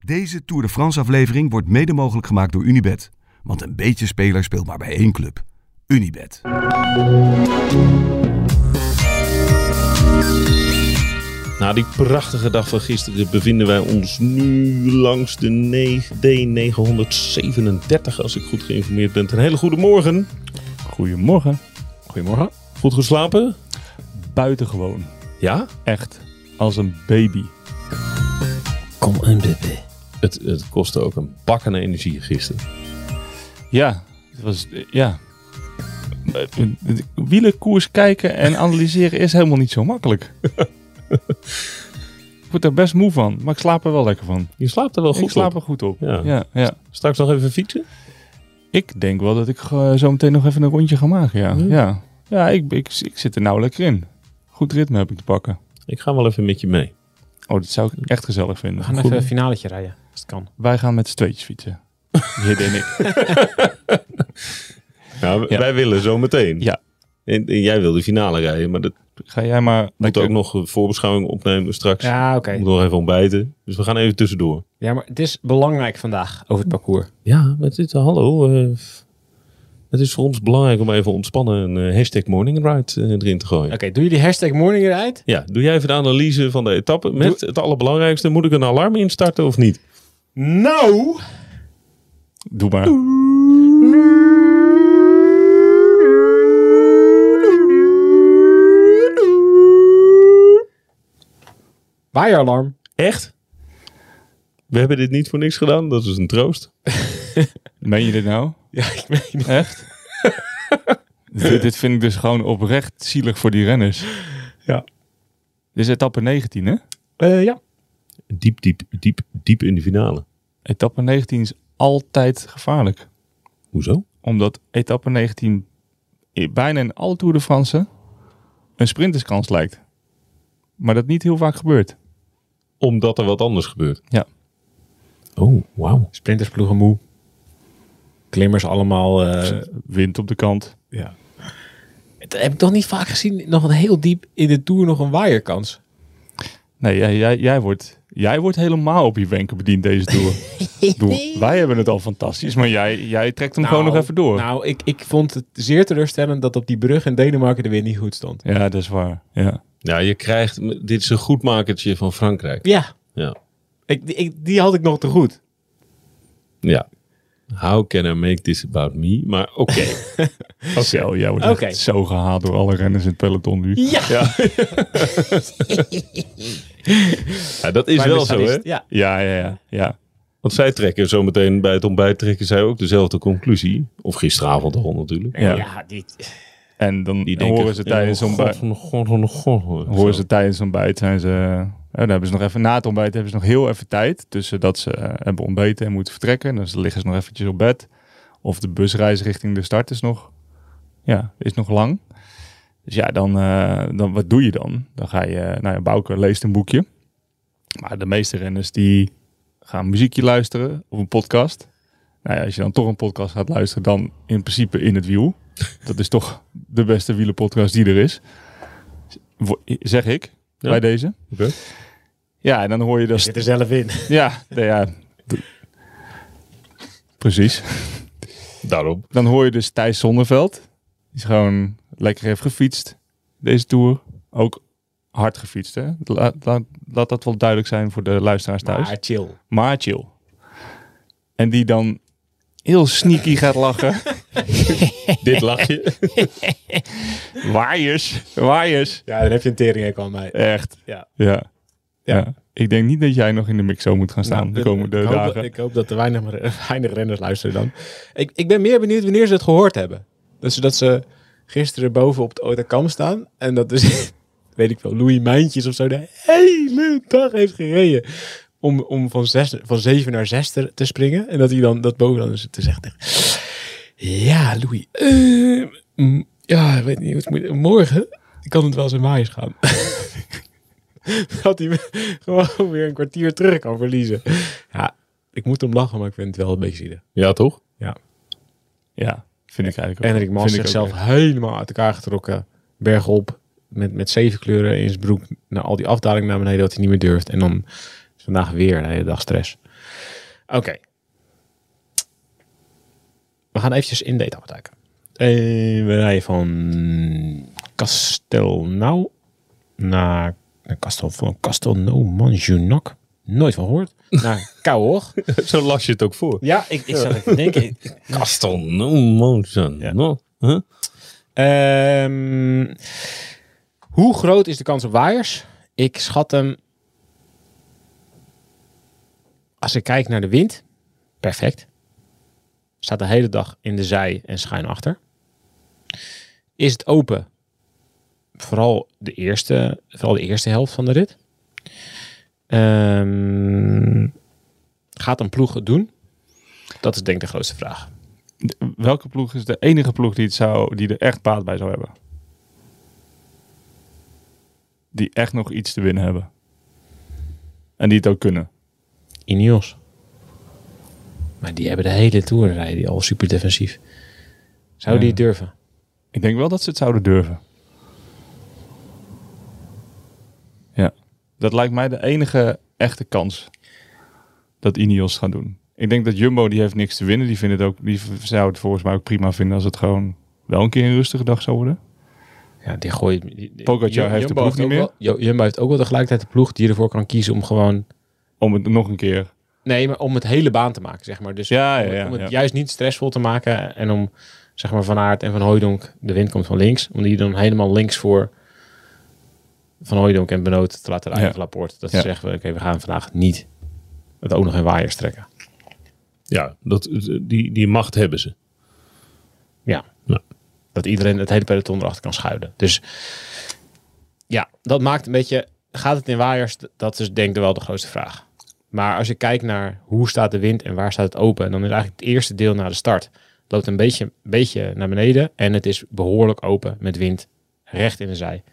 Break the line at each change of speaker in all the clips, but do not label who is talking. Deze Tour de France aflevering wordt mede mogelijk gemaakt door Unibet. Want een beetje speler speelt maar bij één club. Unibet.
Na Nou, die prachtige dag van gisteren bevinden wij ons nu langs de ne- D937, als ik goed geïnformeerd ben. Een hele goede morgen.
Goedemorgen. Goedemorgen.
Goed geslapen?
Buitengewoon.
Ja?
Echt. Als een baby.
Kom een bebe. Het, het kostte ook een bak aan energie gisteren.
Ja. Het was, eh, ja. Eh, eh, Wielenkoers kijken en analyseren is helemaal niet zo makkelijk. ik word er best moe van, maar ik slaap er wel lekker van.
Je slaapt er wel goed
ik slaap
op.
er goed op.
Ja.
Ja, ja.
Straks nog even fietsen?
Ik denk wel dat ik eh, zo meteen nog even een rondje ga maken. Ja,
Hm.
ja. ja ik, ik, ik zit er nou lekker in. Goed ritme heb ik te pakken.
Ik ga wel even met je mee.
Oh, dat zou ik echt gezellig
We
vinden.
gaan even een finaletje rijden, als het kan.
Wij gaan met z'n tweetjes fietsen. Hier en ik.
Ja, w-
Ja.
wij willen zo meteen.
Ja.
En, en jij wil de finale rijden, maar dat
Ga jij maar
moet
lekker-
ook nog een voorbeschouwing opnemen straks.
Ja, oké.
Ik Moet nog even ontbijten. Dus we gaan even tussendoor.
Ja, maar het is belangrijk vandaag over het parcours.
Ja, maar het is, hallo. eh, f- het is voor ons belangrijk om even ontspannen een eh, hashtag morning ride eh, erin te gooien.
Oké, doen jullie hashtag morning ride?
Ja, doe jij even de analyse van de etappe met het allerbelangrijkste. Moet ik een alarm instarten of niet?
Nou!
Doe maar.
Waaieralarm.
Echt? We hebben dit niet voor niks gedaan. Dat is een troost.
Meen je dit nou?
Ja, ik weet niet.
Echt? dit, dit vind ik dus gewoon oprecht zielig voor die renners.
Ja.
Dit is etappe 19, hè?
Eh, ja.
Diep, diep, diep, diep in de finale.
Etappe 19 is altijd gevaarlijk.
Hoezo?
Omdat etappe 19 i- bijna in alle Tour de France een sprinterskans lijkt. Maar dat niet heel vaak gebeurt.
Omdat er wat anders gebeurt.
Ja.
Oh, wauw.
Sprintersploegen moe. Klimmers allemaal. eh,
Wind op de kant.
ja. Dat heb ik toch niet vaak gezien. Nog een heel diep in de Tour nog een waaierkans.
Nee, jij, jij, jij, wordt, jij wordt helemaal op je wenken bediend deze Tour. Ik bedoel, wij hebben het al fantastisch, maar jij, jij trekt hem gewoon
Nou,
nog even door.
Nou, ik, ik vond het zeer teleurstellend dat op die brug in Denemarken de wind niet goed stond.
Ja, dat is waar. Ja.
Ja, je krijgt... Dit is een goedmakertje van Frankrijk.
Ja.
Ja.
Ik, ik, die had ik nog te goed.
Ja. How can I make this about me? Maar oké. Oké.
Zo, jij wordt echt
Oké.
zo gehaald door alle renners in het peloton nu.
Ja.
Ja, dat is
Bij
wel
de
zo, hè?
sadist, Ja.
Ja, ja, ja. ja.
Want zij trekken zometeen bij het ontbijt trekken zij ook dezelfde conclusie. Of gisteravond al natuurlijk.
Ja.
die,
En dan
Die denken,
horen ze tijdens
oh,
zo'n bij-
god, god, god, god, god.
horen ze tijdens zo'n bijt zijn ze... eh, dan hebben ze nog even na het ontbijt hebben ze nog heel even tijd tussen dat ze eh, hebben ontbeten en moeten vertrekken. Dus dan liggen ze nog eventjes op bed. Of de busreis richting de start is nog, ja, is nog lang. Dus ja, dan, eh, dan wat doe je dan? Dan ga je, eh, nou ja, Bouke leest een boekje. Maar de meeste renners die gaan muziekje luisteren of een podcast. Nou ja, als je dan toch een podcast gaat luisteren, dan in principe in het wiel. Dat is toch de beste wielenpodcast die er is. Wo- Zeg ik,
Ja.
bij deze.
Oké.
Ja, en dan hoor je dat...
zit er zelf in.
Ja, nou ja. d- Precies.
Daarom.
Dan hoor je dus Thijs Zonneveld. Die is gewoon lekker heeft gefietst deze Tour. Ook hard gefietst, hè? Laat, laat, laat dat wel duidelijk zijn voor de luisteraars thuis.
Maar chill.
maar chill. En die dan heel sneaky gaat lachen.
Dit lachje.
waaiers, waaiers.
Ja, dan heb je een teringhek aan mij.
Echt.
Ja.
Ja.
Ja.
ja. Ik denk niet dat jij nog in de mixo moet gaan staan
Nou,
de
ik-
komende
ik hoop dat-
dagen.
ik hoop dat er weinig, weinig renners luisteren dan. Ik, ik ben meer benieuwd wanneer ze het gehoord hebben. Dus dat ze gisteren boven op de Otakam staan. En dat dus, weet ik wel, Louis Mijntjes of zo de hele dag heeft gereden. Om, om van, zes, van zeven naar zes te, te springen. En dat hij dan, dat boven dan is te zeggen. Ja, Louis. eh, mm, ja, ik weet niet. Wat moet, morgen kan het wel zijn waaiers gaan. dat hij gewoon weer een kwartier terug kan verliezen. Ja, ik moet hem lachen, maar ik vind het wel een beetje zielig.
Ja, toch?
Ja, vind ik eigenlijk ook.
Enrik Mas
Vind ik ook
zichzelf helemaal uit elkaar getrokken. Bergop, met, met zeven kleuren in zijn broek. Naar al die afdaling naar beneden, dat hij niet meer durft. En dan is vandaag weer een hele dag stress. Oké. We gaan eventjes in detail kijken. Eh, we rijden van Castelnau naar, naar Castel, van Castelnau Manjunac. Nooit van gehoord. Naar Cahors.
Zo las je het ook voor.
ja, ik, ik zat even te denken. Ik-
Kaston, no motion.
Ja.
No. Huh?
Ehm, hoe groot is de kans op waaiers? Ik schat hem. Als ik kijk naar de wind, perfect. Staat de hele dag in de zij en schuin achter. Is het open? Vooral de eerste, vooral de eerste helft van de rit. Ehm, gaat een ploeg het doen? Dat is denk ik de grootste vraag.
De- welke ploeg is de enige ploeg die, het zou, die er echt baat bij zou hebben? Die echt nog iets te winnen hebben. En die het ook kunnen.
Ineos. Maar die hebben de hele Tour rijden die al super defensief. Zou die het durven?
Ik denk wel dat ze het zouden durven. Ja. Dat lijkt mij de enige echte kans dat Ineos gaat doen. Ik denk dat Jumbo, die heeft niks te winnen. Die, vindt het ook, die v- zou het volgens mij ook prima vinden als het gewoon wel een keer een rustige dag zou worden.
Ja, die gooit... die- die-
Pogacar
Jum-
heeft de
Jumbo
ploeg niet
ook
meer.
wel- Jo- Jumbo heeft ook wel de gelijkheid de ploeg die ervoor kan kiezen om gewoon...
Om het nog een keer.
Nee, maar om het hele baan te maken, zeg maar. Dus
Ja, ja,
om,
ja,
om het
ja.
juist niet stressvol te maken. En om, zeg maar, Van Aert en Van Hooijdonk... De wind komt van links. Om die dan helemaal links voor Van Hooijdonk en Benoot te laten rijden.
Ja.
Of Laporte. Dat
Ja.
ze zeggen, oké, we gaan vandaag niet het ook nog in waaiers trekken.
Ja, dat, die, die macht hebben ze.
Ja.
Ja.
Dat iedereen het hele peloton erachter kan schuilen. Dus ja, dat maakt een beetje... Gaat het in waaiers? D- Dat is denk ik wel de grootste vraag. Maar als je kijkt naar hoe staat de wind en waar staat het open... dan is eigenlijk het eerste deel na de start... loopt een beetje, een beetje naar beneden... en het is behoorlijk open met wind recht in de zij.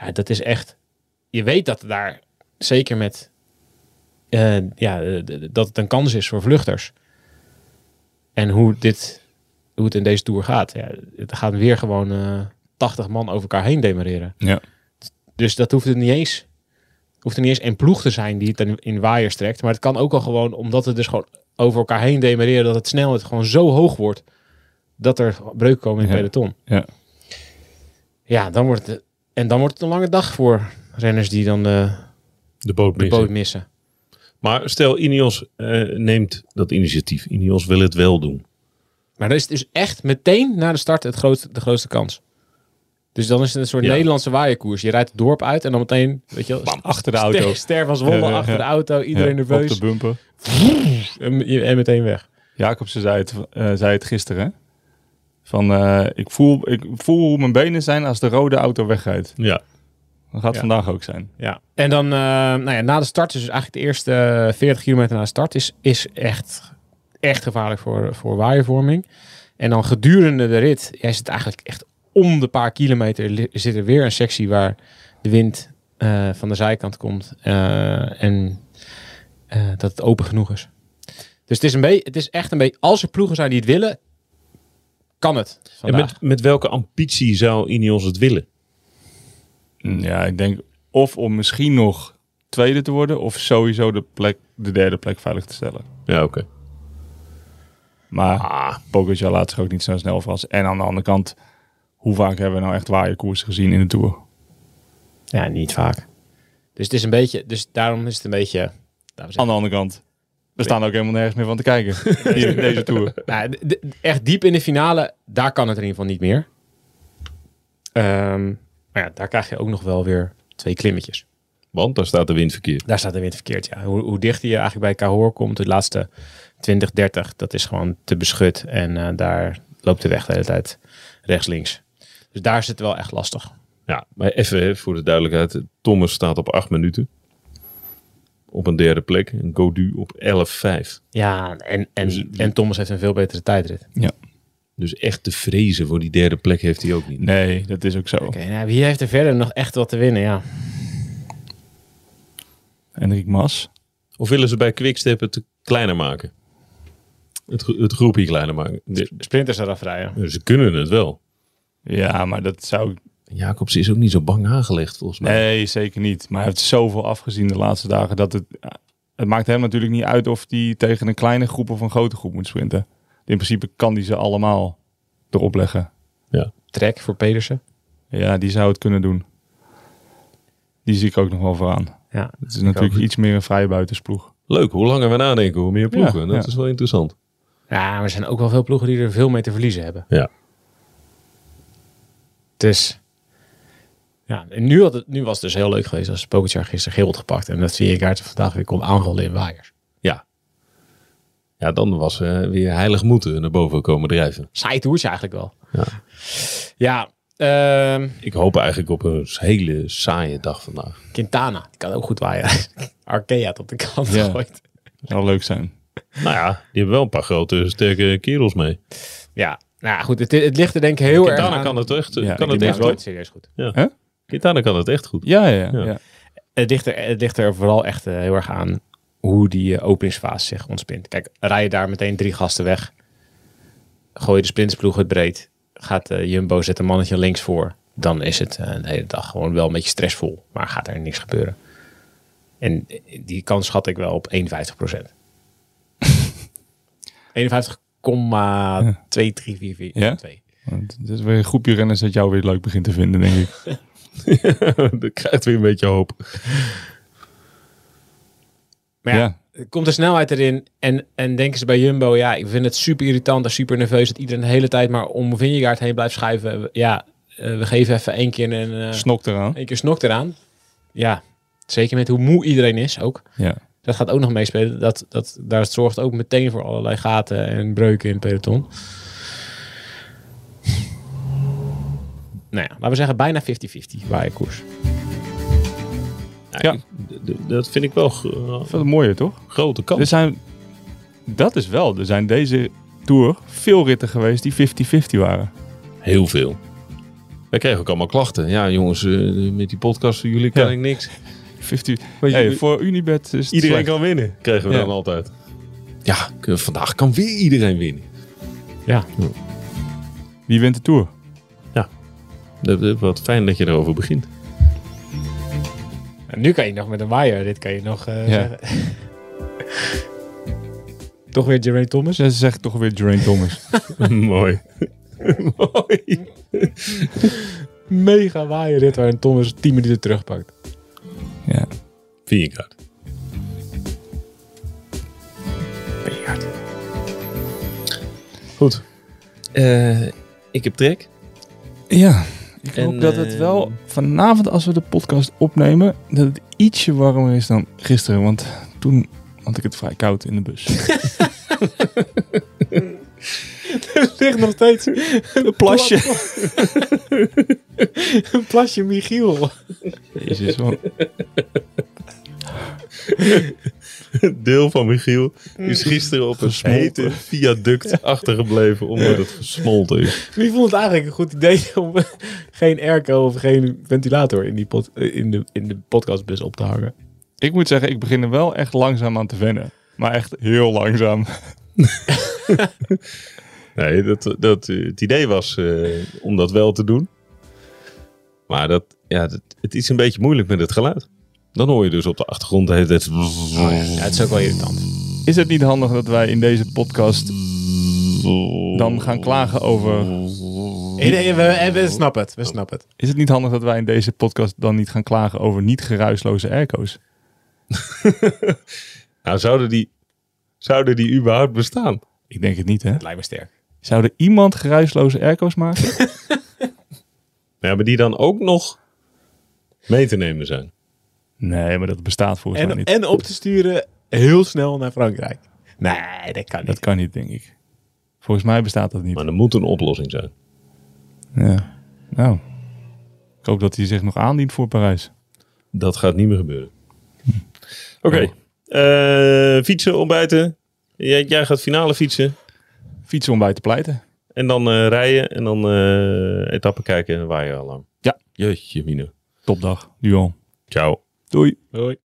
Ja, dat is echt... Je weet dat er daar zeker met... eh, ja, eh, d- d- dat het een kans is voor vluchters. En hoe dit hoe het in deze tour gaat. Ja, het gaan weer gewoon eh 80 man over elkaar heen demareren.
Ja.
Dus dat hoeft er niet eens. Hoeft er niet eens een ploeg te zijn die het in- in waaiers trekt. Maar het kan ook al gewoon, omdat het dus gewoon over elkaar heen demareren, dat het snelheid gewoon zo hoog wordt. Dat er breuken komen in het
Ja.
peloton.
Ja.
Ja, dan wordt het. En dan wordt het een lange dag voor renners die dan eh,
De boot
de boot missen.
Maar stel, Ineos eh, neemt dat initiatief. Ineos wil het wel doen.
Maar dan is het dus echt meteen na de start het groot, de grootste kans. Dus dan is het een soort
Ja.
Nederlandse waaierkoers. Je rijdt het dorp uit en dan meteen, weet je wel,
Achter de
Ster, ster van Zwolle
Ja, ja, ja.
achter de auto, iedereen
Ja,
nerveus.
Op de bumper.
En, en meteen weg.
Jacobsen zei het, eh, zei het gisteren. hè? Van, eh, ik, voel, ik voel hoe mijn benen zijn als de rode auto wegrijdt.
Ja.
Dat gaat
Ja.
vandaag ook zijn.
Ja. En dan, eh, nou ja, na de start, dus eigenlijk de eerste eh, 40 kilometer na de start, is, is echt, echt gevaarlijk voor, voor waaiervorming. En dan gedurende de rit ja, is het eigenlijk echt om de paar kilometer li- zit er weer een sectie waar de wind eh, van de zijkant komt eh, en eh, dat het open genoeg is. Dus het is, een beetje, het is echt een beetje, als er ploegen zijn die het willen, kan het.
En
vandaag.
met, met welke ambitie zou Ineos het willen?
Mm, Ja, ik denk of om misschien nog tweede te worden, of sowieso de, plek, de derde plek veilig te stellen.
Ja, oké.
Maar
Ah,
Pogacar laat zich ook niet zo snel vast. En aan de andere kant, hoe vaak hebben we nou echt waaierkoersen gezien in de Tour?
Ja, niet vaak. Dus het is een beetje, dus daarom is het een beetje. dames en
Aan de andere kant, we staan ook helemaal nergens meer van te kijken hier in deze Tour.
heren. Nou, d- d- echt diep in de finale, daar kan het in ieder geval niet meer. Ehm, maar ja, daar krijg je ook nog wel weer twee klimmetjes.
want daar staat de wind verkeerd.
Daar staat de wind verkeerd, ja. Hoe, hoe dichter je eigenlijk bij Cahors komt, de laatste 20, 30, dat is gewoon te beschut. En eh, daar loopt de weg de hele tijd rechts, links. Dus daar zit het wel echt lastig.
Ja, maar even hè, voor de duidelijkheid. Thomas staat op acht minuten. Op een derde plek. En Godu op 11,5.
Ja, en, en, en Thomas heeft een veel betere tijdrit.
Dus echt te vrezen voor die derde plek heeft hij ook niet.
Nee, dat is ook zo.
Oké, nou, wie heeft er verder nog echt wat te winnen, ja.
Enrik Mas.
Of willen ze bij Quickstep het kleiner maken? Het, gro- het groepje kleiner maken. De-
Sprinters eraf rijden.
ze kunnen het wel.
Ja, maar dat zou ik...
Jacobs is ook niet zo bang aangelegd volgens mij.
Nee, zeker niet. Maar hij heeft zoveel afgezien de laatste dagen dat het... het maakt hem natuurlijk niet uit of hij tegen een kleine groep of een grote groep moet sprinten. In principe kan hij ze allemaal erop leggen.
Trek voor Pedersen.
Ja, die zou het kunnen doen. Die zie ik ook nog wel vooraan.
Ja,
Het is natuurlijk
ook.
iets meer een vrije buitensploeg.
Leuk, hoe langer we nadenken, hoe meer ploegen.
Ja,
dat
ja.
is wel interessant.
Ja, maar er zijn ook wel veel ploegen die er veel mee te verliezen hebben.
Ja.
Dus. Ja, en nu, had het, nu was het dus heel leuk geweest als Pogacar gisteren geel had gepakt. En dat Vierkaart vandaag weer kon aanvallen in Waaiers.
Ja, dan was eh, weer heilig moeten naar boven komen drijven.
Saai toertje eigenlijk wel. Ja. Ja, ehm,
Ik hoop eigenlijk op een hele saaie dag vandaag.
Quintana. Die kan ook goed waaien. Arkea tot de kant
Ja.
gooit.
Zou leuk zijn.
Nou ja, die hebben wel een paar grote, sterke kerels mee.
Ja, nou ja, goed. Het, het ligt er denk ik heel erg
Kitana
aan.
kan het echt,
Ja,
kan het
Ja,
echt
het wordt
goed.
serieus goed.
Kitana kan het echt goed.
Ja, ja,
Ja.
ja.
Het ligt er, het ligt er vooral echt eh, heel erg aan hoe die eh, openingsfase zich ontspint. Kijk, rij je daar meteen drie gasten weg. Gooi je de sprintsploeg het breed. Gaat eh, Jumbo zet een mannetje links voor. Dan is het eh, de hele dag gewoon wel een beetje stressvol. Maar gaat er niks gebeuren. En eh, die kans schat ik wel op 51 procent. 51,23442.
Ja? Want Het is weer een groepje renners dat jou weer leuk begint te vinden, denk ik.
dat krijgt weer een beetje hoop.
Maar ja,
Ja.
komt de snelheid erin en, en denken ze bij Jumbo, ja, ik vind het super irritant en super nerveus dat iedereen de hele tijd maar om Vingegaard heen blijft schuiven. Ja, eh, we geven even één keer een, eh,
Snok eraan.
één keer snok eraan. Ja, zeker met hoe moe iedereen is ook.
Ja.
Dat gaat ook nog meespelen. Dat, dat, daar zorgt ook meteen voor allerlei gaten en breuken in het peloton. Nou ja, laten we zeggen bijna 50-50 bij koers.
Ja.
Nou, ik- d- d- dat vind ik wel gro-
Veel mooier, toch?
grote
Er
kans.
zijn... Dat is wel. Er zijn deze Tour veel ritten geweest die 50-50 waren.
Heel veel. Wij kregen ook allemaal klachten. Ja, jongens, eh, met die podcast van jullie kan
Ja.
ik niks.
50...
Want
Hey,
jullie-
voor Unibet is het
Iedereen
slecht.
kan winnen, kregen we
Ja.
dan altijd. Ja, k- vandaag kan weer iedereen winnen.
Ja,
Wie wint de Tour?
Dat- dat- Wat fijn dat je erover begint.
En nu kan je nog met een waaier, dit kan je nog eh,
Ja.
zeggen. Toch weer Jeremy Thomas?
Ze zegt toch weer Geraint Thomas.
Mooi. Mooi.
Mega waaier dit waarin Thomas 10 minuten terugpakt.
ja.
Vierkaart. Goed. Eh, ik heb trek.
Ja, ik
En,
hoop dat het
eh,
wel vanavond als we de podcast opnemen, dat het ietsje warmer is dan gisteren. Want toen had ik het vrij koud in de bus.
ligt nog steeds
Een plasje.
een plasje Michiel.
Jezus, wat-
Het deel van Michiel is gisteren op een
Gesmolten.
hete viaduct achtergebleven omdat het gesmolten is.
Wie vond het eigenlijk een goed idee om geen airco of geen ventilator in, die pod, in, de, in de podcastbus op te hangen?
Ik moet zeggen, ik begin er wel echt langzaam aan te wennen. Maar echt heel langzaam.
Nee, dat, dat, eh, het idee was eh, om dat wel te doen. Maar dat, ja, dat, het is een beetje moeilijk met het geluid. Dan hoor je dus op de achtergrond de hele tijd...
Ja, het is ook wel irritant.
Is het niet handig dat wij in deze podcast dan gaan klagen over...
We, we snappen het, we snappen het.
Is het niet handig dat wij in deze podcast dan niet gaan klagen over niet geruisloze airco's?
Nou, zouden die, zouden die überhaupt bestaan?
Ik denk het niet, hè?
Het lijkt me sterk.
Zou er iemand geruisloze airco's maken?
Ja, maar die dan ook nog mee te nemen zijn.
Nee, maar dat bestaat volgens mij
En,
niet.
en op te sturen heel snel naar Frankrijk. Nee, dat kan niet.
Dat kan niet, denk ik. Volgens mij bestaat dat niet.
Maar er moet een oplossing zijn.
Ja. Nou, ik hoop dat hij zich nog aandient voor Parijs.
Dat gaat niet meer gebeuren. Hm. Oké.
Oh.
Eh, fietsen, ontbijten. Jij, jij gaat finale fietsen.
Fietsen om bij te pleiten.
En dan eh, rijden. En dan eh etappen kijken en waaien alarm.
Ja.
Jeetje, Mine.
Topdag, nu al.
Ciao.
Doei.
Hoi.